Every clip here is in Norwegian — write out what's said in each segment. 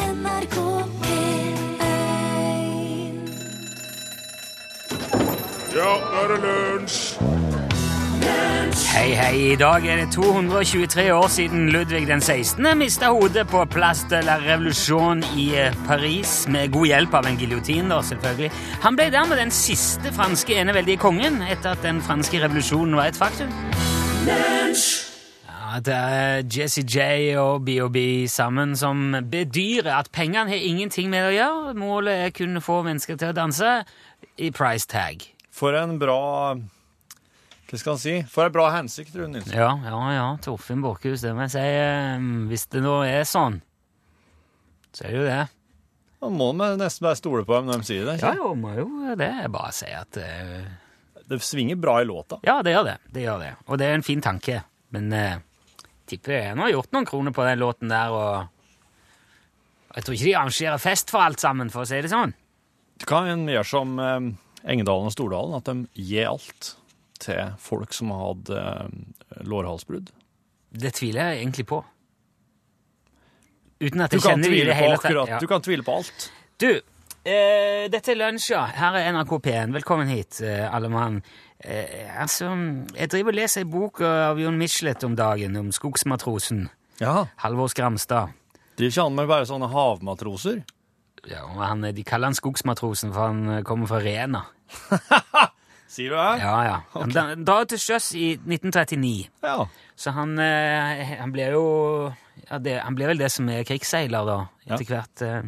NRK P1 Ja, nå er det lunsj! Hei, hei. I dag er det 223 år siden Ludvig den 16. mista hodet på Place de la Revolution i eh, Paris, med god hjelp av en giljotin, da, selvfølgelig. Han ble dermed den siste franske eneveldige kongen etter at den franske revolusjonen var et faktum. Ja, det er Jesse J og BOB sammen som bedyrer at pengene har ingenting med det å gjøre. Målet er kun å få mennesker til å danse i price tag. For en bra Hva skal han si? For en bra hensikt, Rune Nilsen. Ja, ja, ja. Torfinn Borkhus, det må jeg si. eh, Hvis det nå er sånn, så er det jo det. Man må med- nesten bare stole på dem når de sier det. Ja, ikke? jo, må jo det. Jeg Bare si at eh, Det svinger bra i låta. Ja, det gjør det. Det gjør det. Og det er en fin tanke. Men eh, tipper jeg nå har gjort noen kroner på den låten der, og Jeg tror ikke de arrangerer fest for alt sammen, for å si det sånn. Du kan gjøre som eh, Engedalen og Stordalen, at de gir alt til folk som har hatt eh, lårhalsbrudd. Det tviler jeg egentlig på. Uten at Du jeg kan, kjenner de i tvile det på hele tatt. akkurat, Ja. du kan tvile på alt. Du, eh, dette er lunsj, ja. Her er NRK P1. Velkommen hit, eh, alle mann. Eh, altså, jeg driver og leser en bok av Jon Michelet om dagen, om skogsmatrosen Ja. Halvor Skramstad. Driver ikke han med bare sånne havmatroser? Ja, og han, de kaller han skogsmatrosen, for han eh, kommer fra Rena. Sier du det? Ja, ja. Han da- drar til sjøs i 1939, Ja. så han, eh, han blir jo ja, det, Han blir vel det som er krigsseiler, da, etter hvert. Eh,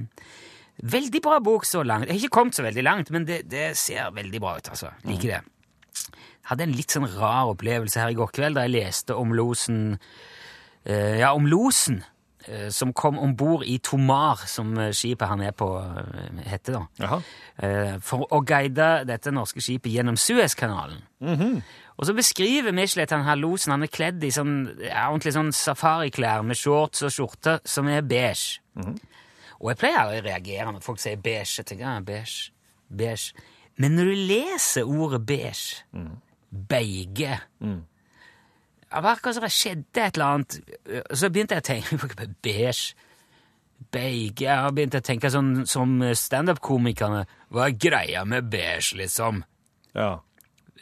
veldig bra bok så langt. Jeg har ikke kommet så veldig langt, men det, det ser veldig bra ut, altså. Liker det. hadde en litt sånn rar opplevelse her i går kveld da jeg leste om losen eh, Ja, om losen eh, som kom om bord i Tomar, som eh, skipet han er på, eh, heter, da. Jaha. Eh, for å guide dette norske skipet gjennom Suezkanalen. Og så beskriver Michelet han her losen. Han er kledd i sånn, ja, ordentlig sånn safariklær med shorts og skjorte som er beige. Og jeg pleier aldri å reagere når folk sier beige. Jeg tenker, ja, beige, beige. Men når du leser ordet beige, beige ja, Det virker som det skjedde et eller annet. Og Så begynte jeg å tenke Beige. Beige. Jeg begynte å tenke sånn som standup-komikerne. Hva er greia med beige, liksom? Ja.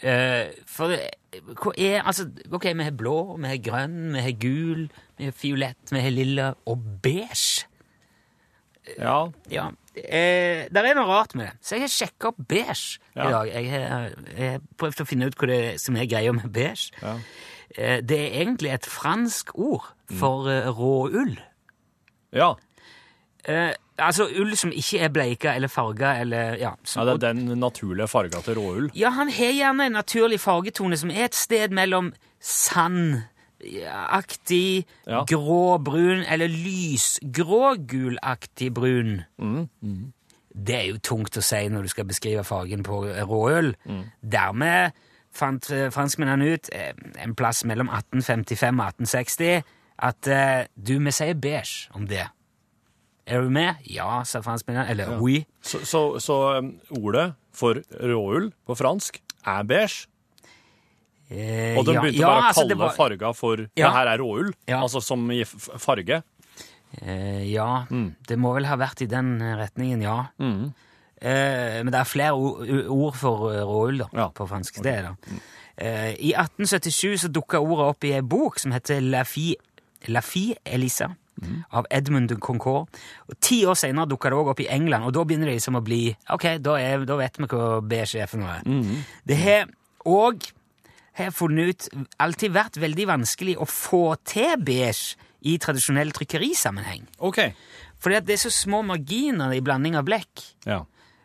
Eh, for det- hva er Altså, OK, vi har blå, vi har grønn, vi har gul, vi har fiolett, vi har lilla og beige. ja. Ja. Eh, der er noe rart med det. Så jeg har sjekka opp beige Ja. i dag. Jeg har, jeg har prøvd å finne ut hva det er som er greia med beige. Ja. Eh, det er egentlig et fransk ord for eh, råull. Ja. Eh, altså ull som ikke er bleika eller farga eller ja. som- ja. Det er den naturlige farga til råull. Ja, han har gjerne en naturlig fargetone som er et sted mellom sandaktig, Ja. grå-brun eller lysgrå-gulaktig brun. Mm, Det er jo tungt å si når du skal beskrive fargen på råøl. Mm. Dermed fant eh, franskmennene ut, eh, en plass mellom 1855 og 1860, at eh, du, vi sier beige om det. Er du med? Ja, sa franskmennene. Eller oui. Så, så, så um, ordet for råull på fransk er beige. Eh, Og de ja- begynte ja, bare å altså, kalle det var- farga for Ja. Det her er råull, Ja. altså som i f- farge. Eh, ja, det må vel ha vært i den retningen, ja. Eh, men det er flere o- u- ord for eh, råull da, Ja. på fransk. Det er det. Eh, I 1877 så dukka ordet opp i ei bok som heter La Fille, La Fille Elisa av Edmund de Concord. Og Ti år senere dukka det òg opp i England, og da begynner det liksom å bli Ok, da, er, da vet vi hva beige er for noe. Det har òg har jeg funnet ut alltid vært veldig vanskelig å få til beige i tradisjonell trykkerisammenheng. OK. Fordi at det er så små marginer i blanding av blekk. Ja.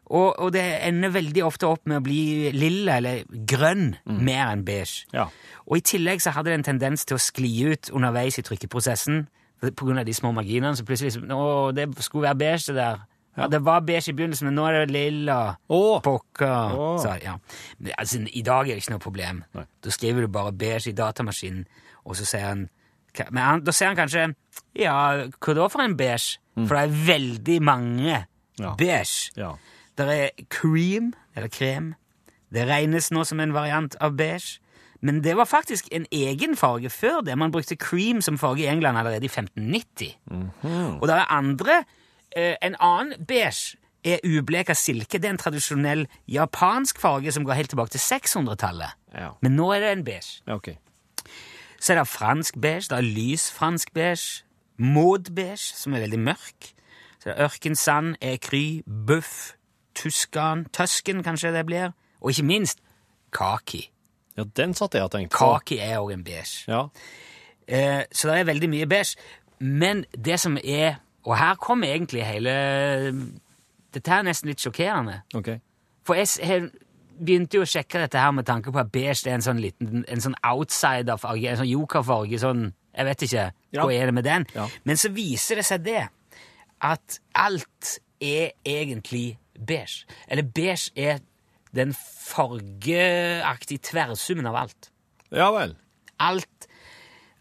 Og, og det ender veldig ofte opp med å bli lilla eller grønn mer enn beige. Ja. Og i tillegg så hadde det en tendens til å skli ut underveis i trykkeprosessen pga. de små marginene. Så plutselig så, Å, det skulle være beige, det der. Ja, Det var beige i begynnelsen, men nå er det lilla. Å. Pokker. Å. sa jeg, ja. Men, altså, I dag er det ikke noe problem. Nei. Da skriver du bare beige i datamaskinen, og så sier han ka- Men han, da sier han kanskje Ja, hva da for en beige? For det er veldig mange Mm. Ja. beige. ja. Det er cream, eller krem. Det regnes nå som en variant av beige. Men det var faktisk en egen farge før det. Man brukte cream som farge i England allerede i 1590. Og det er andre Eh, en annen beige er ubleka silke. Det er en tradisjonell japansk farge som går helt tilbake til 600-tallet. Ja. Men nå er det en beige. Ja, ok. Så er det fransk beige, det er lys fransk beige, maud beige, som er veldig mørk. Så er det ørkensand, ekry, buff, tuskan, tøsken kanskje det blir, og ikke minst kaki. Ja, den satt jeg og tenkte på. Kaki er òg en beige. Ja. Eh, så det er veldig mye beige. Men det som er Og her kommer egentlig hele Dette er nesten litt sjokkerende. Ok. For jeg s- jeg begynte jo å sjekke dette her med tanke på at beige er en sånn liten en sånn outsider-farge, en sånn jokerfarge, sånn Jeg vet ikke. Ja. Hva er det med den? Ja. Men så viser det seg det at alt er egentlig beige. Eller beige er den fargeaktige tverrsummen av alt. Ja vel. Alt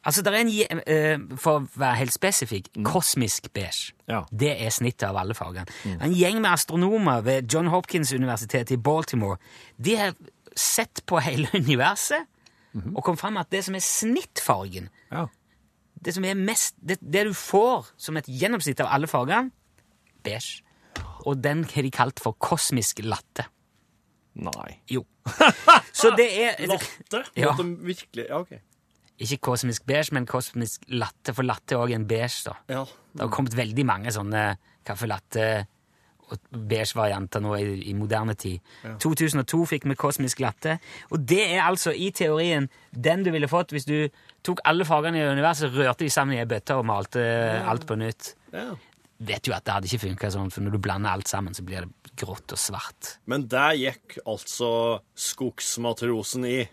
Altså, det er en, je- eh, for å være helt spesifikk, kosmisk beige. Mm. Ja. Mm. Det er snittet av alle fargene. En gjeng med astronomer ved John Hopkins universitet i Baltimore de har sett på hele universet Mhm. og kom fram at det som er snittfargen, Ja. det som er mest, det, det du får som et gjennomsnitt av alle fargene, beige. Og den har de kalt for kosmisk latte. Nei. Jo. Så det er Latte? Ja. Måtte virkelig Ja, ok. Ikke kosmisk beige, men kosmisk latte, for latte er òg en beige, da. Ja. Det har kommet veldig mange sånne caffè latte og beige-varianter nå i, i moderne tid. 2002 fikk vi kosmisk latte, og det er altså i teorien den du ville fått hvis du tok alle fargene i universet, rørte de sammen i ei bøtte og malte eh, alt på nytt. ja. Vet jo at det hadde ikke funka sånn, for når du blander alt sammen, så blir det grått og svart. Men der gikk altså skogsmatrosen i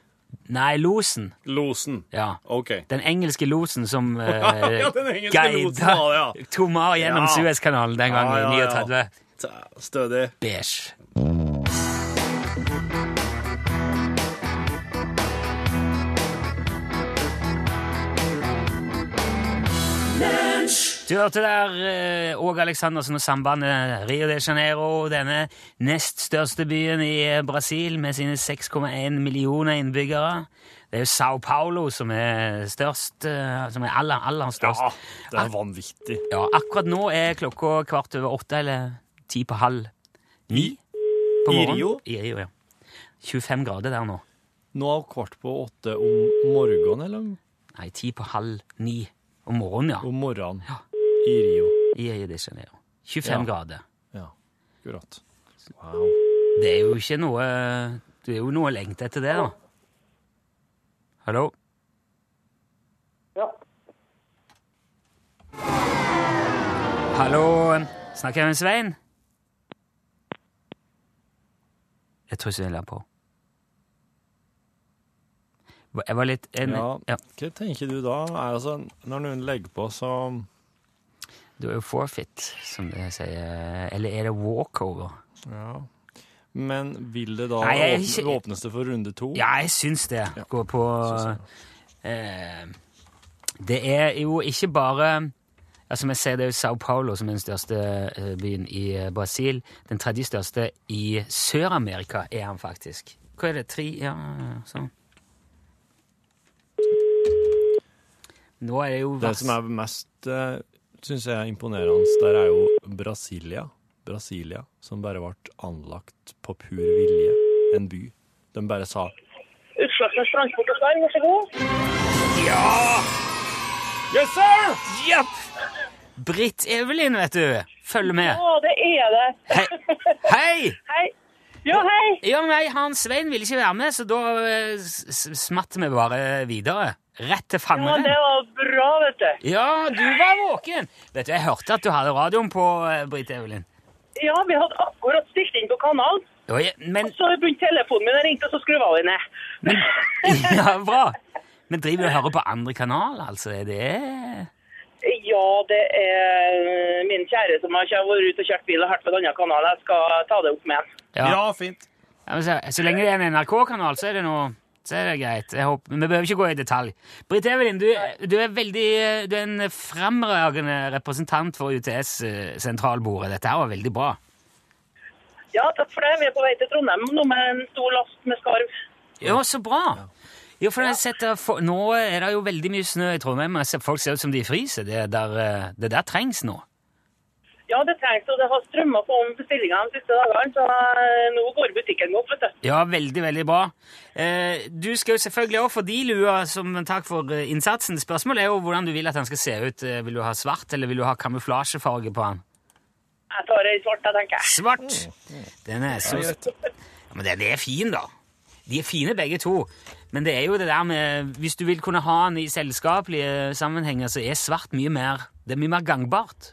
Nei, losen. losen. Ja. OK. Den engelske losen som eh, Ja, den engelske losen var det, ja. Tomar gjennom Ja. Suezkanalen den gangen Ja, ja, i ja. 39. Ta- Stødig. Beige. Du hørte der eh, Åge Aleksandersen og sambandet Rio de Janeiro, denne nest største byen i eh, Brasil med sine 6,1 millioner innbyggere. Det er jo Sao Paulo som er størst, eh, som er aller, aller størst. Ja, det er vanvittig. Ja, akkurat nå er klokka kvart over åtte, eller ti på halv ni. På I morgenen. Rio? I Rio, ja. 25 grader der nå. Nå er det kvart på åtte om morgenen, eller Nei, ti på halv ni om morgenen, ja. om morgenen Ja. i Rio. I Rio de Janeiro. 25 Ja. grader. Ja, akkurat. Wow. Det er jo ikke noe Det er jo noe å lengte etter det, da. Hallo? Ja. Hallo, snakker jeg med Svein? Jeg tror ikke jeg la på. Jeg var litt en, Ja, ja. hva tenker du da? Er altså, når noen legger på, så Du er jo forfeit, som det sier. Eller er det walkover? Ja. Men vil det da Nei, jeg er åpne, ikke- åpnes det for runde to? Ja, jeg syns det. Går på eh, Det er jo ikke bare ja, Som jeg sier, det er jo Sao Paulo som er den største eh, byen i eh, Brasil. Den tredje største i Sør-Amerika er han faktisk. Hva er det? Tre Ja, sånn. Nå er det jo Det som er mest uh, syns jeg er imponerende der, er jo Brasilia. Brasilia, som bare ble anlagt på pur vilje. En by. De bare sa Utslagsnes transport og svar, vær så god. Yes, sir! Japp! Britt Evelyn, vet du. Følg med. Å, det er det. Hei! Hei! Hei. Ja, hei. Ja, nei, han Svein ville ikke være med, så da eh, s- s- smatt vi bare videre. Rett til Ja, fangeren. det var bra, vet du. Ja, du var våken! Vet du, Jeg hørte at du hadde radioen på, eh, Britt Evelyn. Ja, vi hadde akkurat stilt inn på kanalen. Oi, Men, Så begynte telefonen min å ringe, og så skrudde jeg den ned. ja, bra. Men driver du og hører på andre kanal, altså? Er det Ja, det er min kjære som har kjø- vært ute og kjørt bil og hørt på en annen kanal. Jeg skal ta det opp med han. Ja. fint. Ja, men så, så lenge det er en NRK-kanal, så er det noe så er det greit. Jeg håper, vi behøver ikke gå i detalj. Britt Evelyn, du, du er veldig eh, Du er en fremragende representant for UTS-sentralbordet. eh, Dette her var veldig bra. Ja, takk for det. Vi er på vei til Trondheim nå med en stor last med skarv. Ja, så bra! Jo, for jeg har sett det for, Nå er det jo veldig mye snø i Trondheim, og jeg ser folk ser ut som de fryser. Det der, eh, det der trengs nå. Ja, det trengs, og det har strømma på om bestillingene de siste dagene, så eh, nå går butikken godt, vet du. Ja, veldig, veldig bra. Eh, du skal jo selvfølgelig også få de lua som en takk for eh, innsatsen. Spørsmålet er jo hvordan du vil at den skal se ut. Eh, Vil du ha svart, eller vil du ha kamuflasjefarge på den? Jeg tar ei svart, jeg tenker jeg. Svart! Den er så ja, Men den er fin, da. De er fine, begge to. Men det er jo det der med Hvis du vil kunne ha den i selskapelige sammenhenger, så er svart mye mer Det er mye mer gangbart.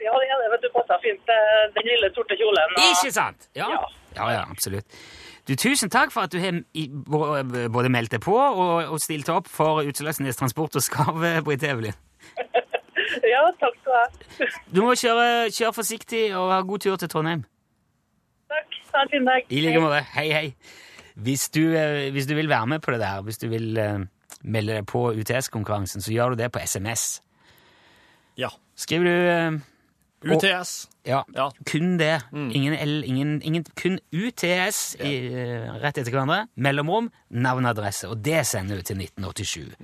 Ja, det er det, vet du. Passer fint til den lille sorte kjolen. og- Ikke sant? Ja. Ja. ja, ja, absolutt. Du, tusen takk for at du har i- bå- både meldt deg på og, og stilt opp for Utslagsnes Transport og Skarv, Britt Evelyn. Ja, takk skal du ha. Du må kjøre, kjøre forsiktig og ha god tur til Trondheim. Takk. Ha en fin dag. I like måte. Hei, hei. Hvis du, eh, hvis du vil være med på det der, hvis du vil eh, melde deg på UTS-konkurransen, så gjør du det på SMS. Ja. Skriver du eh, UTS. ja, Ja. kun det. Ingen L, ingen, ingen, kun UTS i, eh, rett etter hverandre. Mellomrom, navn og adresse. Og det sender du til 1987.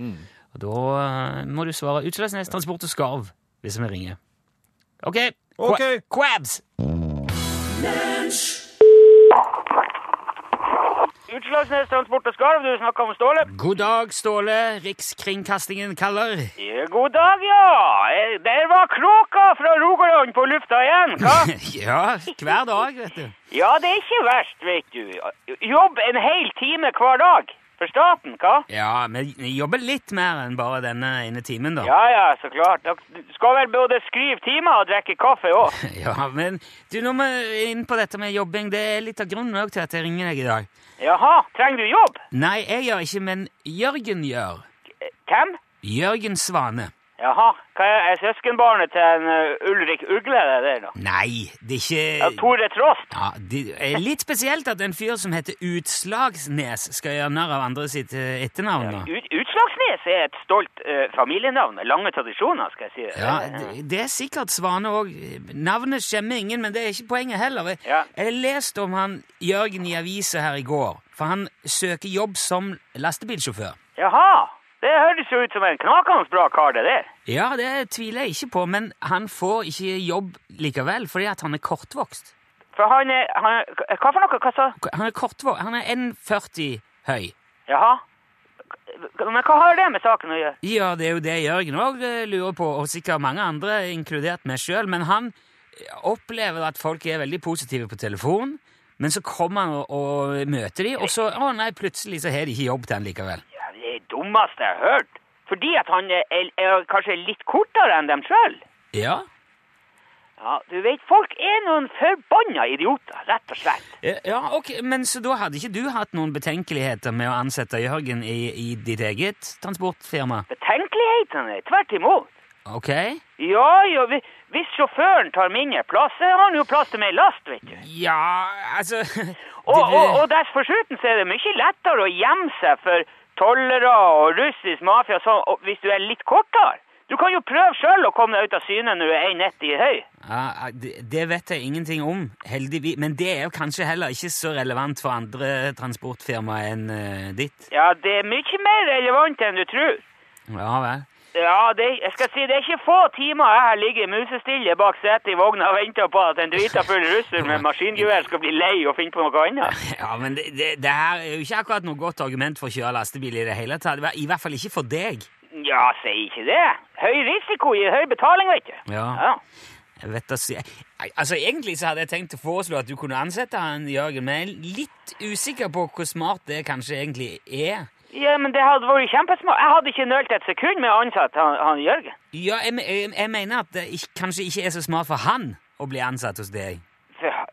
Og da eh, må du svare Utslagsnes Transport og Skarv hvis vi ringer. OK. Qua- Ok. Quabs! Utslagsnes Transport og Skarv, du snakker om Ståle. God dag, Ståle. Rikskringkastingen kaller. Ja, God dag, ja. Eh, Der var Kråka fra Rogaland på lufta igjen, hva? ja, hver dag, vet du. Ja, det er ikke verst, vet du. Jobb en hel time hver dag. For staten, hva? Ja, men vi jobber litt mer enn bare denne ene timen, da. Ja, ja, så klart. Dere skal vel både skrive timer og drikke kaffe òg. Ja, men du, nå må vi inn på dette med jobbing. Det er litt av grunnen også til at jeg ringer deg i dag. Jaha, trenger du jobb? Nei, jeg gjør ikke, men Jørgen gjør. Hvem? Jørgen Svane. Jaha, hva er, er søskenbarnet til en eh, Ulrik Ugle, det der, da? Nei, det er Ja, ikke Tore Trost? ja, det er Litt spesielt at en fyr som heter Utslagsnes, skal gjøre narr av andre sitt eh, etternavn. da. Ut, Utslagsnes er et stolt eh, familienavn med lange tradisjoner, skal jeg si. Eh, Ja, det- Det er sikkert Svane òg. Navnet skjemmer ingen, men det er ikke poenget heller. Jeg- Ja. Jeg leste om han Jørgen i avisa her i går, for han søker jobb som lastebilsjåfør. Jaha, det høres jo ut som en knakende bra kar det der. Ja, det tviler jeg ikke på, men han får ikke jobb likevel fordi at han er kortvokst. For han er, han er Hva for noe, hva sa Han er kortvokst, han er 1,40 høy. Jaha. Men hva har det med saken å gjøre? Ja, det er jo det Jørgen òg lurer på, og sikkert mange andre, inkludert meg sjøl. Men han eh, opplever at folk er veldig positive på telefon, men så kommer han og, og møter de, og så å nei, plutselig så har de ikke jobb til han likevel. Ja, det er det dummeste jeg har hørt. Fordi at han er, er, er kanskje litt kortere enn dem sjøl. Ja, Ja, du vet, folk er noen forbanna idioter, rett og slett. Eh, ja ok, men så da hadde ikke du hatt noen betenkeligheter med å ansette Jørgen i, i ditt eget transportfirma? Betenkelighetene, tvert imot. Ok? Ja, ja, vi- hvis sjåføren tar mindre plass, så har han jo plass til mer last, vet du. Ja, altså Og, det- og, og dess foruten så er det mye lettere å gjemme seg for tollere og russisk mafia og sånn, og hvis du er litt kortere. Du kan jo prøve sjøl å komme deg ut av syne når du er 1,90 høy. Ja, det, det vet jeg ingenting om, heldigvis. Men det er jo kanskje heller ikke så relevant for andre transportfirmaer enn eh, ditt. Ja, det er mye mer relevant enn du tror. Ja vel. Ja, det, jeg skal si, det er ikke få timer jeg har ligget musestille bak setet i vogna og venta på at en drita full russer med maskingevær skal bli lei og finne på noe annet. Ja, men det, det, det her er jo ikke akkurat noe godt argument for å kjøre lastebil i det hele tatt. I hver- I hvert fall ikke for deg. Ja, si ikke det. Høy risiko gir høy betaling, vet du. Ja. ja. Jeg vet da si- Nei, Altså, Egentlig så hadde jeg tenkt å foreslå at du kunne ansette han, Jørgen, men jeg er litt usikker på hvor smart det kanskje egentlig er. Ja, men det hadde vært kjempesmart. Jeg hadde ikke nølt et sekund med å ansette han, han Jørgen. Ja, jeg, me- jeg, jeg mener at det ikk- kanskje ikke er så smart for han å bli ansatt hos deg. For,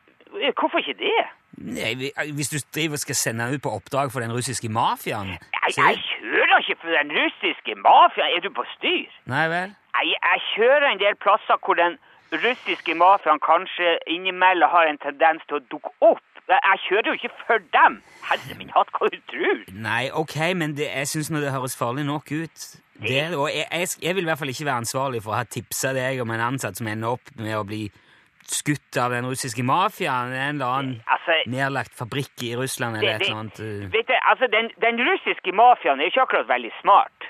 hvorfor ikke det? Nei, vi- eh, Hvis du driver og skal sende han ut på oppdrag for den russiske mafiaen Jeg, så- jeg kjører ikke for den russiske mafia. Er du på styr? Nei vel? Jeg, jeg kjører en del plasser hvor den russiske mafiaen kanskje innimellom har en tendens til å dukke opp. Jeg, jeg kjører jo ikke for dem. Herre min hatt, hva du tror? Nei, ok, men det, jeg syns nå det høres farlig nok ut. Det, og jeg, jeg, jeg vil i hvert fall ikke være ansvarlig for å ha tipsa deg om en ansatt som ender opp med å bli skutt av den russiske mafiaen i en eller annen Altså, nedlagt fabrikk i Russland eller et eller annet. eh. vet du, altså den, den russiske mafiaen er jo ikke akkurat veldig smart.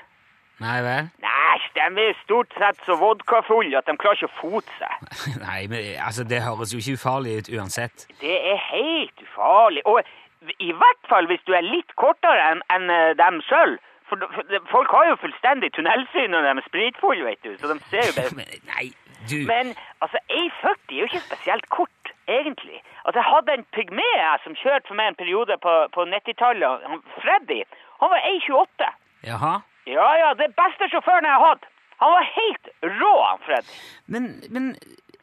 Nei vel? Nei, de er stort sett så vodkafulle at de klarer ikke å fote seg. Nei, men altså, det høres jo ikke ufarlig ut uansett. Det er helt ufarlig. Og i hvert fall hvis du er litt kortere enn enn, eh, dem sjøl. For, d- for de- folk har jo fullstendig tunnelsyn når de er spritfulle, vet du. Så de ser jo bare Men, nei, du Men altså, A40 er jo ikke spesielt kort, egentlig. Altså, Jeg hadde en pygme jeg, som kjørte for meg en periode på, på 90-tallet. Han- Freddy. Han var A28. Jaha? Ja, ja, det beste sjåføren jeg har hatt. Han var helt rå, han Freddy. Men, men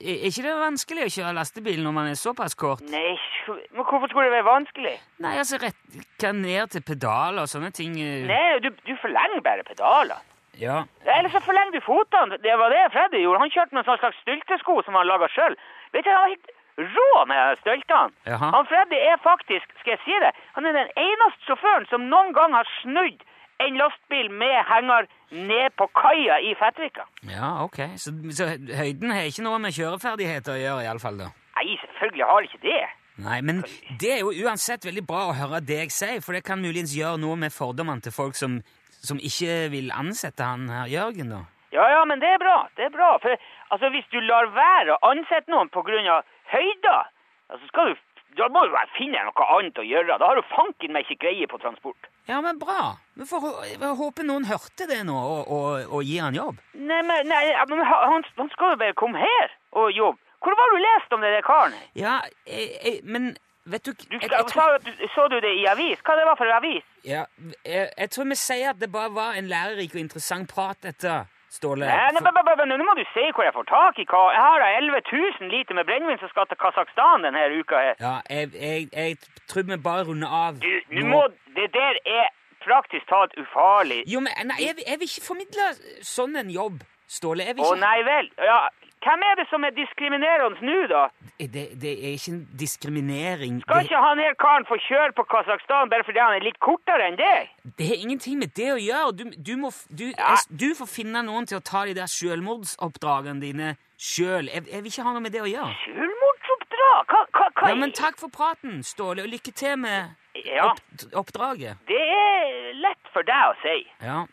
er ikke det vanskelig å kjøre lastebil når man er såpass kort? Nei, sj- men hvorfor skulle det være vanskelig? Nei, altså, rekke ned til pedaler og sånne ting eh, Nei, du, du forlenger bare pedalene. Ja. Eller så forlenger du fotene. Det var det Freddy gjorde. Han kjørte med en sånn slags styltesko som han laga sjøl. Vet du, han var helt rå med støltene. Jaha. Han Freddy er faktisk, skal jeg si det, han er den eneste sjåføren som noen gang har snudd en lastebil med henger ned på kaia i Fettvika. ja, ok. Så, så høyden har ikke noe med kjøreferdigheter å gjøre, iallfall, da. Nei, selvfølgelig har det ikke det. Nei, men det er jo uansett veldig bra å høre deg si, for det kan muligens gjøre noe med fordommene til folk som, som ikke vil ansette han her Jørgen, da. Ja, ja, men det er bra. Det er bra. For altså, hvis du lar være å ansette noen pga. høyda, så altså, skal du da må du bare finne noe annet å gjøre. Da har du fanken meg ikke greie på transport. Ja, men bra. Vi får hå- jeg håper noen hørte det nå og, og, og gir han jobb. Nei, men, nei, ja, men ha- han, han skal jo bare komme her og jobbe. Hvor var du lest om det der karen? Ja, jeg, jeg, men vet du Du, jeg, jeg, sa, tror, jo at du- så du det i avis? Hva det var for avis? ja, jeg, jeg tror vi sier at det bare var en lærerik og interessant prat, dette, Ståle. Nei, nei, For- men- men- men- men Nå må du si hvor jeg får tak i hva. Jeg har da 11 000 liter med brennevin som skal til Kasakhstan denne uka her. Ja, jeg, jeg, jeg tror vi bare runder av. Du, nå nå. må, det der er praktisk talt ufarlig. Jo, men nei, jeg, jeg vil ikke formidle sånn en jobb, Ståle. Jeg vil Å ikke, nei vel. Ja, hvem er det som er diskriminerende nå, da? Eh, det, det er ikke en diskriminering. Skal Det, ikke han her karen få kjøre på Kasakhstan bare fordi han er litt kortere enn deg? det har ingenting med det å gjøre. Du, du, må, f- du, jeg- du får finne noen til å ta de der selvmordsoppdragene dine sjøl. Jeg, jeg vil ikke ha noe med det å gjøre. Sjølmordsoppdrag? Hva, hva, hva Ja, men takk for praten, Ståle, og lykke til med Ja, opp, oppdraget. det er lett for deg å si. Ja.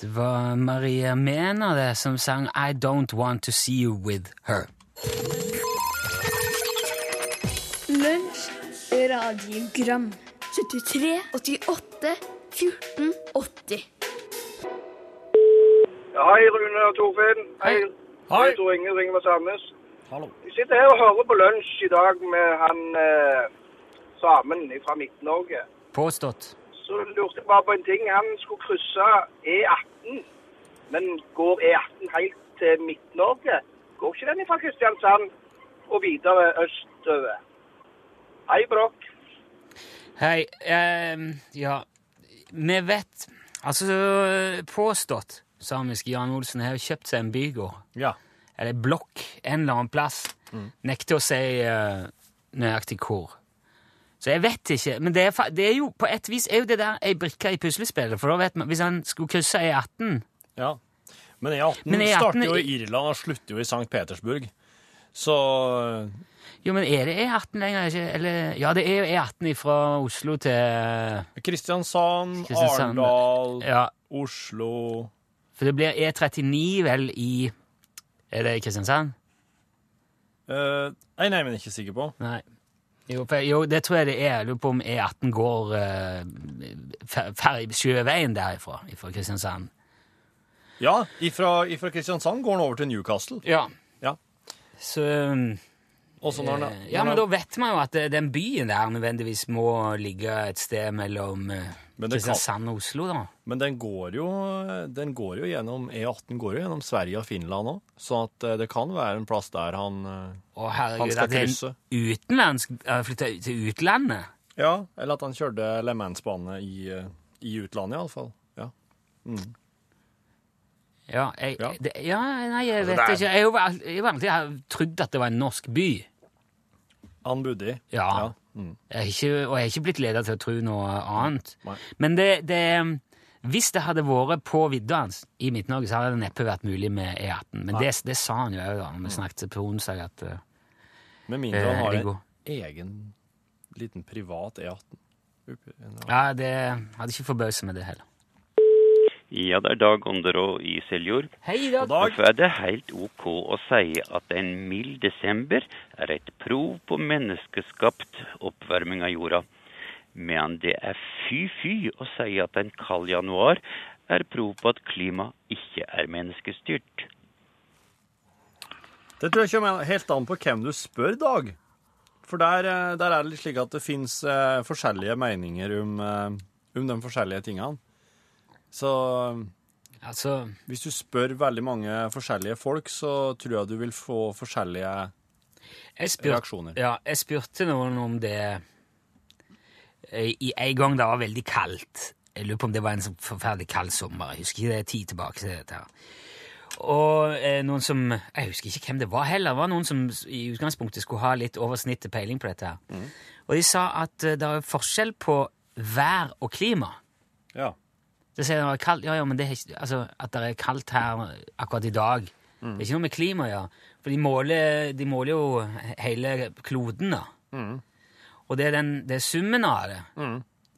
Det var Maria Mena det som sang I Don't Want To See You With Her. Lunsj, radiogram 73, 88, 14, 80 Hei, Rune og Torfinn. Hei. Hei. Jeg heter Inge ringer fra Sandnes. Hallo. Vi sitter her og hører på lunsj i dag med han eh, Samen fra Midt-Norge. Påstått. Så lurte jeg bare på en ting. Han skulle krysse E18, men går E18 helt til Midt-Norge? Går ikke den fra Kristiansand og videre østover? Hei, Brokk. Hei, ehm, ja Vi vet Altså, påstått samiske Jan Olsen har jo kjøpt seg en bygård. Ja. eller blokk en eller annen plass. Nekter å si eh, nøyaktig hvor. Så jeg vet ikke. Men det er, fa- det er jo på et vis er jo det der ei brikke i puslespillet. For da vet man, hvis han skulle krysse E18 ja. Men E18 Men E18 starter jo i Irland og slutter jo i St. Petersburg. Så eh, Jo, men er det E18 lenger? Ikke? Eller, ja, det er jo E18 fra Oslo til eh, Kristiansand, Kristiansand. Arendal, Ja, Oslo for det blir E39 vel i Er det i Kristiansand? eh, Nei, nei, men jeg er ikke sikker på. Nei. Jo, for, jo, det tror jeg det er. Jeg lurer på om E18 går eh, fer- fer- sjøveien derifra, fra Kristiansand. Ja, ifra, ifra Kristiansand går han over til Newcastle. Ja. Ja. Så um, Og så når han, eh, Ja, men da vet man jo at eh, den byen der nødvendigvis må ligge et sted mellom eh, Men det kan- Kristiansand og Oslo, da. Men den går jo, den går jo gjennom E18 går jo gjennom Sverige og Finland òg, så at eh, det kan være en plass der han eh, Å, Han herregud, skal at det er krysse. en utenlandsk eh, Flytte ut til utlandet? Ja, eller at han kjørte Le Mans-bane i, eh, i utlandet, iallfall. Ja. Ja, jeg, Ja. Det, ja nei, jeg vet Altså, det er- ikke. Jeg har jo al- jeg har alltid trodd at det var en norsk by. Han bodde i. Ja. Mm. Jeg har ikke, og jeg har ikke blitt leda til å tro noe annet. Nei. Men det, det um, Hvis det hadde vært på vidda hans i Midt-Norge, så hadde det neppe vært mulig med E18. Men det, det sa han jo òg da når vi snakket på onsdag, at eh, Med mindre han Eh, har Viggo. en egen liten privat E18. Oppi en Ja, det hadde ikke forbauset meg, det heller. Ja, det er Dag Ånderå i Seljord. Hei, da. Derfor er det helt ok å si at en mild desember er et prov på menneskeskapt oppvarming av jorda. Men det er fy-fy å si at en kald januar er prov på at klima ikke er menneskestyrt. Det tror jeg kommer helt an på hvem du spør, Dag. For der, eh, der er det litt slik at det fins eh, forskjellige meninger om, eh, om de forskjellige tingene. Så eh, Altså, hvis du spør veldig mange forskjellige folk, så tror jeg du vil få forskjellige jeg spurte, Reaksjoner. ja, jeg spurte noen om det eh, i en gang det var veldig kaldt. Jeg lurer på om det var en sånn forferdelig kald sommer. Jeg husker ikke det er tid tilbake til dette. her. Og eh, noen som Jeg husker ikke hvem det var heller. Det var noen som s- i utgangspunktet skulle ha litt over snittet peiling på dette. her. Mm. Og de sa at eh, det er forskjell på vær og klima. Ja. Det sier det er kaldt, ja, ja, men det er ikke, altså, at det er kaldt her akkurat i dag. Det er ikke noe med klima å gjøre. For de måler, de måler jo he- hele kloden, da. Og det er, den, det er summen av det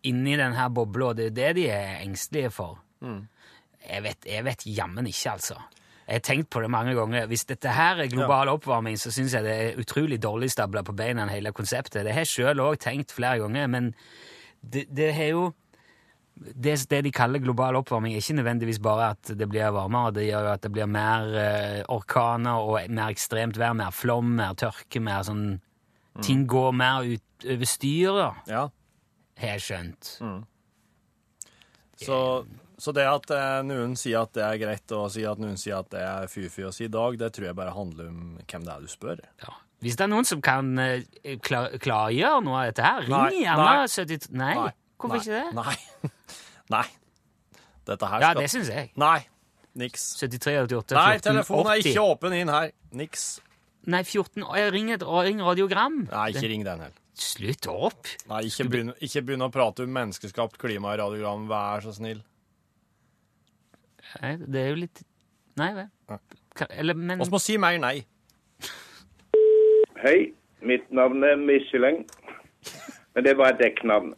inni denne bobla, og det er det de er engstelige for. Jeg vet, jeg vet jammen ikke, altså. Jeg har tenkt på det mange ganger. Hvis dette her er global oppvarming, så syns jeg det er utrolig dårlig stabla på beina, hele konseptet. Det har jeg sjøl òg tenkt flere ganger, men det, det har jo det, det de kaller global oppvarming, er ikke nødvendigvis bare at det blir varmere. Det gjør jo at det blir mer eh, orkaner og mer ekstremt vær, mer flom, mer tørke, mer sånn Mm. Ting går mer ut over styr, da, ja. har jeg skjønt. Mm. Så, så det at eh, noen sier at det er greit å si at noen sier at det er fy-fy å si Dag, det tror jeg bare handler om hvem det er du spør. Ja. Hvis det er noen som kan eh, klar, klargjøre noe av dette her, Nei, ring gjerne nei. 72 Nei, hvorfor Nei. ikke det? Nei. Nei. Dette her Ja, skal det syns jeg. Nei. Niks. 73 88 Nei, 14 telefonen er 80. ikke åpen inn her. Niks. Nei, 14 og jeg ringer, et- ring radiogram. Nei, ikke ring den heller. Slutt opp! Nei, ikke begynn, ikke begynn å prate om menneskeskapt klima i radiogram, vær så snill. Nei, det er jo litt Nei vel. Ka- Eller, men Vi må si mer nei. Hei, mitt navn er Michelin. Men det var et dekknavn.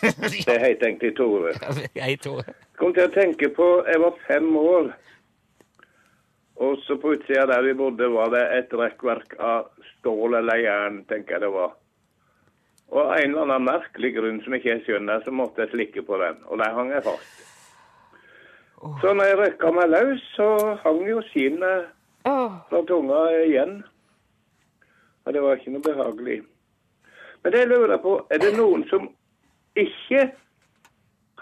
Det heter egentlig Tore. Jeg tror Kom til å tenke på Jeg var fem år. Og så på utsida der vi bodde, var det et rekkverk av stål eller jern, tenker jeg det var. Og av en eller annen merkelig grunn som ikke jeg skjønner, så måtte jeg slikke på den. Og der hang jeg fast. Så når jeg røkka meg løs, så hang jo skinnet fra tunga igjen. Og det var ikke noe behagelig. Men det jeg lurer på, er det noen som ikke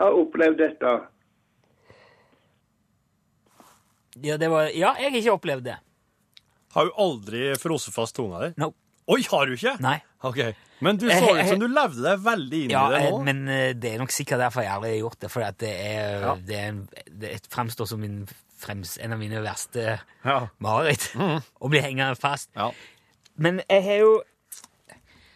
har opplevd dette? Ja, det var, ja jeg har ikke opplevd det. Har du aldri frosset fast tunga di? No. Oi, har du ikke? Nei. Eh, Ok. Men du så ut som du levde deg veldig inn Ja, i det eh, nå. men eh, det er nok sikkert derfor jeg aldri har gjort det. For at det, er, det, er, en- det fremstår som min frems, en av mine verste Ja. Mm. mareritt. Å bli hengende fast. Ja. Men jeg har jo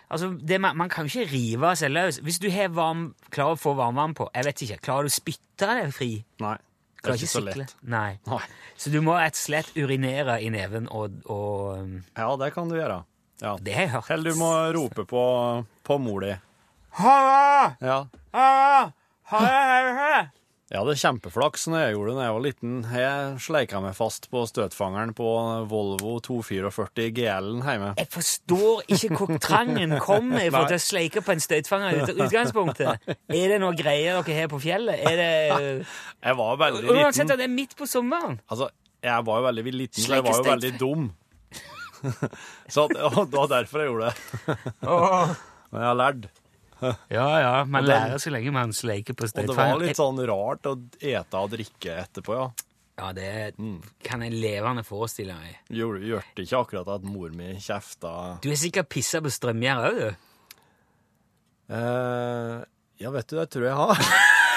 Altså, det, man, man kan jo ikke rive seg løs. Hvis du har varm, klarer å få varmvann på Jeg vet ikke, Klarer du å spytte deg fri? Nei, det Klarer er ikke så sikle? lett. Nei. Nei. Så du må rett og slett urinere i neven, og, og um, Ja, det kan du gjøre. Ja. Det har jeg hørt. Eller du må rope på, på mor di. Halla! Ja. Halla! Halla, halla! Jeg hadde kjempeflaks når jeg gjorde det da jeg var liten. Jeg sleika meg fast på støtfangeren på Volvo 244 GL-en hjemme. Jeg forstår ikke hvor trangen kommer fra Nei. til å sleike på en støytfanger i ut- utgangspunktet. Er det noe greier dere har på fjellet? Er det... Jeg var veldig Uansett liten. at det er midt på sommeren. Altså, jeg var jo veldig liten, så jeg var jo Sleikestøt. veldig dum. så at, og det var derfor jeg gjorde det. Men jeg har lært. Ja, ja, man den- lærer så lenge man sleiker på Og det var støytfanger. litt sånn rart å ete og drikke etterpå, ja. Ja, det kan jeg levende forestille meg. Gjorde gjorde ikke akkurat at mor mi kjefta Du er sikkert pissa på strømgjerde òg, du. eh, Ja, vet du, det tror jeg jeg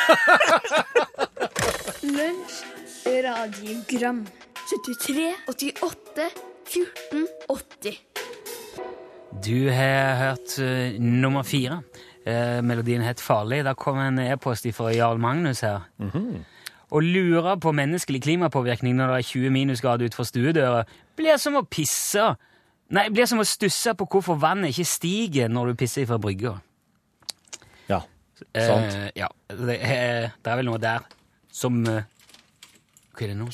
har. Lunsj radiogram 73 88 14 80 Du har hørt eh, nummer fire. Eh, melodien het Farlig. Da kom en e-post fra Jarl Magnus her. Å lure på menneskelig klimapåvirkning når det er 20 minusgrader utenfor stuedøra, blir som å pisse Nei, blir som å stusse på hvorfor vannet ikke stiger når du pisser fra brygga. Eh, Sant. ja. Det, eh, det er vel noe der som eh, Hva er det nå?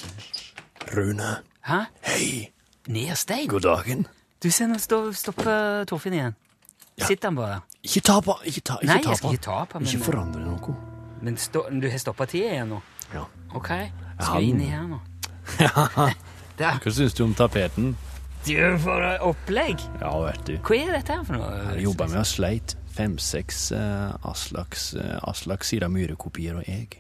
Rune. Hæ? Hei! Nerstein? God dagen. Du, se nå stå- stopper Torfinn igjen. Sitter han bare der? Ikke ta på Ikke ta, ikke Nei, ta jeg skal på. ikke ta på Ikke forandre noe. Men stå, du har stoppa tida igjen nå? Ja. OK. har Skal vi inn den. i her nå? Der. Hva syns du om tapeten? Du, for et opplegg! Ja, vet du. Hva er dette her for noe? Jeg jobba med og sleit fem-seks eh, Aslaks, eh, Aslaks Sira Myhre-kopier og jeg.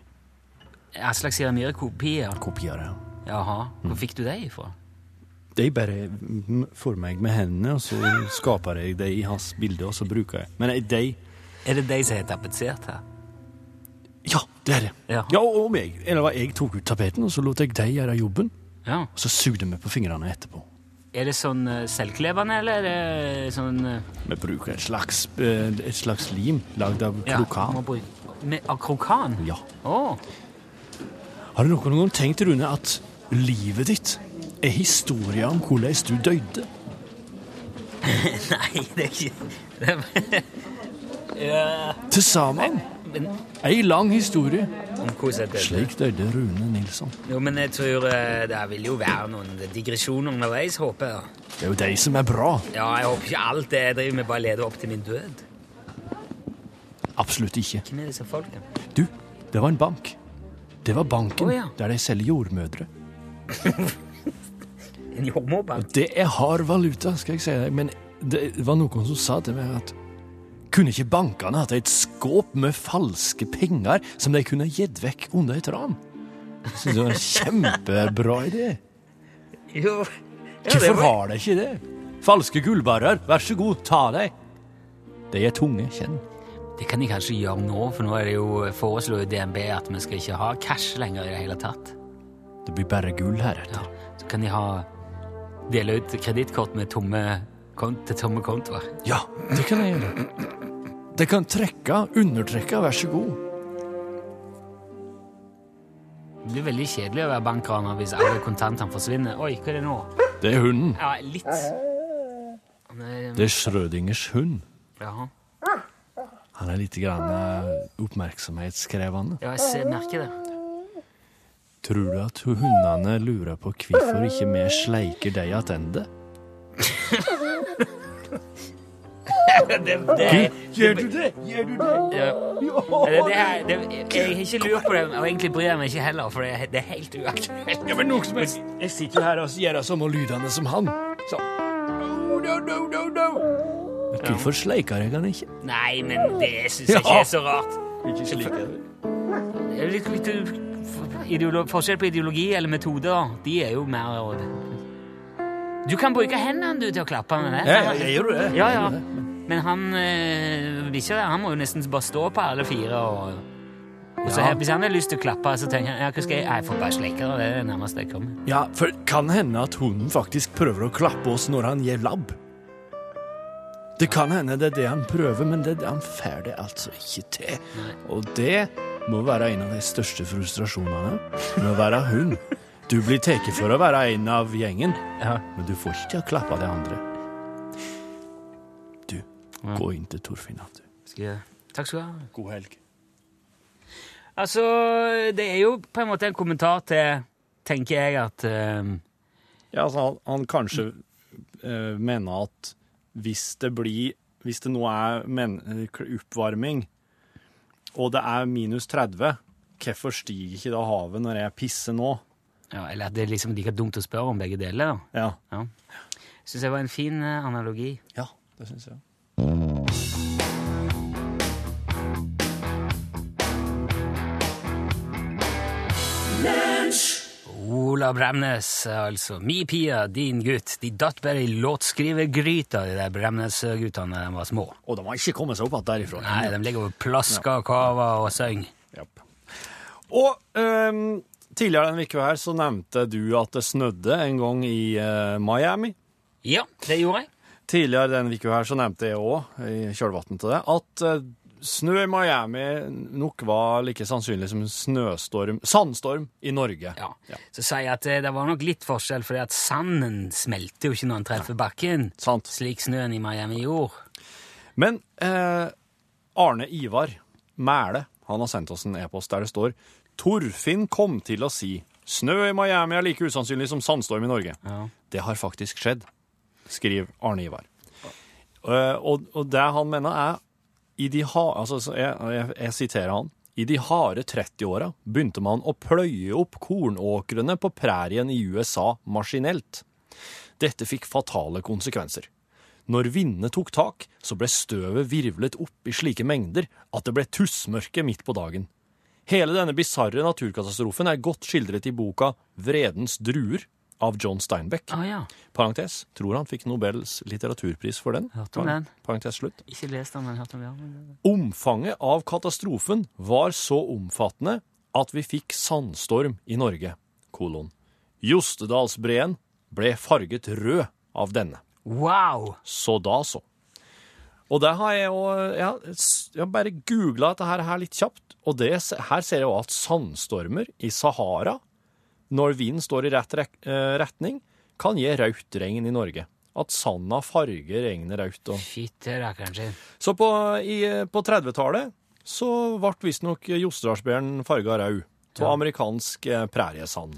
Aslak Sira Myhre-kopier? Kopier, ja. Jaha. Hvor fikk du det ifra? De bare mm, får meg med hendene, og så skaper jeg det i hans bilde, og så bruker jeg Men eh, de Er det de som er tapetsert her? Ja, det er det. Ja, og og meg. Eller hva, jeg tok ut tapeten, og så lot jeg de gjøre jobben. Ja. Og så sugde vi på fingrene etterpå. Er det sånn eh, selvklebende, eller er det sånn eh, Vi bruker et slags, eh, et slags lim lagd av Ja, krokan. må bruke- Med akrokan? Ja. Å, Har du noen gang tenkt, Rune, at livet ditt er historia om hvordan du døde? nei, det er ikke det er, Ja, Til sammen. men, Ei lang historie. om hvordan jeg døde. Slik døde Rune Nilsson. Jo, men jeg tror eh, det vil jo være noen digresjoner underveis, håper jeg. Det er jo de som er bra. Ja, jeg håper ikke alt det jeg driver med, bare leder opp til min død. Absolutt ikke. Hvem er disse folkene? Du, det var en bank. Det var banken Å, ja. der de selger jordmødre. En jordmorbank? Det er hard valuta, skal jeg si deg, men det var noen som sa til meg at kunne ikke bankene hatt et skåp med falske penger som de kunne gitt vekk under et ran? Jeg synes det var en kjempebra idé. Jo. Hvorfor har de ikke det? Falske gullbarrer, vær så god, ta dem. De er tunge, kjenn. Det kan de kanskje gjøre nå, for nå er det jo foreslår jo DNB at vi skal ikke ha cash lenger i det hele tatt. Det blir bare gull heretter. Så kan de ha dele ut kredittkort med tomme kont til tomme kontoer. Ja, det kan jeg gjøre. De kan trekke, undertrekke, vær så god. Det blir veldig kjedelig å være bankraner hvis alle kontantene forsvinner. Oi, hva er det nå? Det er hunden. Ja, litt. Nei, Det er Schrødingers hund. Jaha. Han er litt grann eh, oppmerksomhetskrevende. Ja, jeg ser, merker det. Tror du at hundene lurer på hvorfor ikke vi sleiker deg tilbake? det, det er, Gjør du det? Gjør du det? Ja. Ja, Det, det er, det, jeg jeg har ikke lurt på det, og egentlig bryr jeg meg ikke heller, for det, er- det er helt uaktuelt. Ja, men noe som helst. Jeg sitter jo her og gjør samme lydene som han. Sånn. Så. Men Hvorfor sleiker jeg han ikke? Nei, men det syns jeg ikke er så rart. Ikke slik er det. Det er Litt, litt u- ideolo forskjell på ideologi eller metode, da. De er jo mer eh, Du kan bruke hendene du til å klappe med det. Ja, jeg gjør det. Ja, ja. Men han eh, vil ikke det. Han må jo nesten bare stå på alle fire og og så Ja. her, Hvis han har lyst til å klappe, så tenker han ja, hva skal jeg, jeg får bare slikke det. Det er det nærmeste jeg kommer. Ja, for kan hende at hunden faktisk prøver å klappe oss når han gir labb. Det kan hende det er det han prøver, men det, han får det altså ikke til. Og det må være en av de største frustrasjonene med å være hund. Du blir tatt for å være en av gjengen, men du får ikke til å klappe de andre. Du, gå inn til Torfinn. at du. Skal jeg... Takk skal du ha. God helg. Altså, det er jo på en måte en kommentar til, tenker jeg, at eh, Ja, altså, han, han kanskje eh, mener at hvis det blir Hvis det nå er men, eh, oppvarming, og det er minus 30, hvorfor stiger ikke da havet når jeg pisser nå? ja, Eller at det er liksom like dumt å spørre om begge deler. da. Ja, Ja. Syns jeg var en fin eh, analogi. ja det syns jeg. Ola Bremnes, altså. Mi pia, din gutt. De datt bare i låtskrivergryta, de der Bremnes-guttene da de var små. Og de har ikke kommet seg opp igjen derifra. Nei, de ligger og plasker og kaver og syng. Og ehm, tidligere denne uka her så nevnte du at det snødde en gang i eh, Miami. Ja, det gjorde jeg. Tidligere denne uka her så nevnte jeg òg, i kjølvannet til det, at eh, snø i Miami nok var like sannsynlig som snøstorm Sandstorm i Norge. Ja. Så sier jeg at eh, det var nok litt forskjell, fordi at sanden smelter jo ikke når den treffer bakken, Sant. slik snøen i Miami gjorde. Men eh, Arne Ivar Mæle han har sendt oss en e-post der det står Torfinn kom til å si snø i Miami er like usannsynlig som sandstorm i Norge. Det har faktisk skjedd, skriver Arne Ivar. Eh, og, og det han mener er i de ha, altså, så jeg, jeg, jeg siterer han. I de harde 30-åra begynte man å pløye opp kornåkrene på prærien i USA maskinelt. Dette fikk fatale konsekvenser. Når vindene tok tak, så ble støvet virvlet opp i slike mengder at det ble tussmørke midt på dagen. Hele denne bisarre naturkatastrofen er godt skildret i boka Vredens druer av John Steinbeck. Ah, ja. Parentes, tror han fikk Nobels litteraturpris for den. Hørte om den. Parentes slutt. Ikke lest den, men hørt om den. Omfanget av katastrofen var så omfattende at vi fikk sandstorm i Norge. Kolon. Jostedalsbreen ble farget rød av denne. Wow! Så da så. Og der har jeg jo Jeg har, jeg har bare googla dette her, her litt kjapt, og det, her ser jeg jo at sandstormer i Sahara, når vinden står i rett rek- eh, retning, kan gi rødt regn i Norge. At sanda farger regnet rødt. og... Fitte, det er kanskje. Så på, i- på 30-tallet så ble visstnok Jostedalsbjørn farga rød av amerikansk eh, præriesand.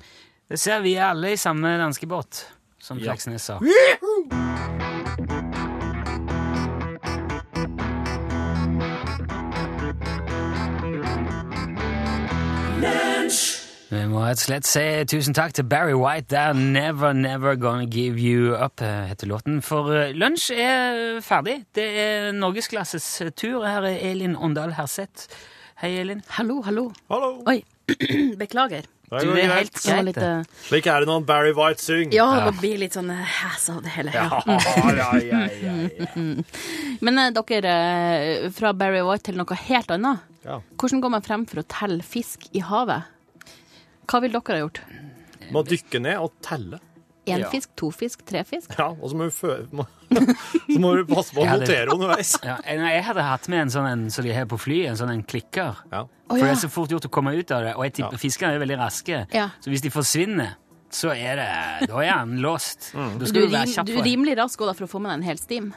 Det ser vi er alle i samme danske båt, som Ja. Fleksnes sa. Vi må rett og slett si tusen takk til Barry White der. Never, never gonna give you up, eh, heter låten. For eh, lunsj er eh, ferdig. Det er norgesklasses tur. Her er Elin Åndal Herseth. Hei, Elin. Hallo, hallo. Hallo. Oi. Beklager. Det går Du, det er greit. helt Det var greit, litt, eh, Slik er det når Barry White synger. ja, det blir litt sånn eh, hæs av det hele. Ja, Mm. ja, ja, ja, Men eh, dere, eh, fra Barry White til noe helt annet. Ja. Hvordan går man frem for å telle fisk i havet? Hva ville dere ha gjort? Må dykke ned og telle. Én Ja. fisk, to fisk, tre fisk? Ja, og så må du, fø må, så må du passe på å Jeg hadde- notere underveis. Ja, nei, jeg hadde hatt med en sånn en som de har på fly, en sånn en klikker. For Å, ja. det er så fort gjort å komme ut av det, og jeg tipper fiskene er veldig raske. Ja. Så hvis de forsvinner, så er det Da er han låst. Da Du, skal du, er være rim, kjapp du for er det. rimelig rask også da for å få med deg en hel stim.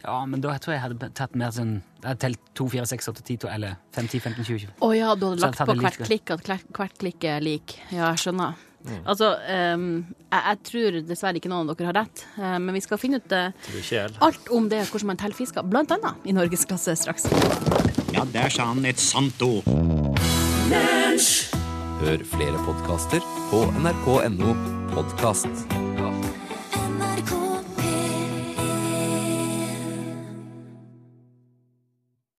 Ja, men da tror jeg jeg hadde tatt mer sånn Jeg hadde telt 2, 4, 6, 8, 10, 12, eller 5, 10, 15, 20, 20. Å ja, du Så hadde jeg lagt tar på det hvert litt- klikk at hvert, hvert klikk er lik. Ja, jeg skjønner. Mm. Altså, ehm, jeg, jeg tror dessverre ikke noen av dere har rett, eh, men vi skal finne ut eh, alt om det hvordan man teller fisker, blant annet i norgesklasse straks. Ja, der sa han et sant ord. Hør flere podkaster på nrk.no podkast.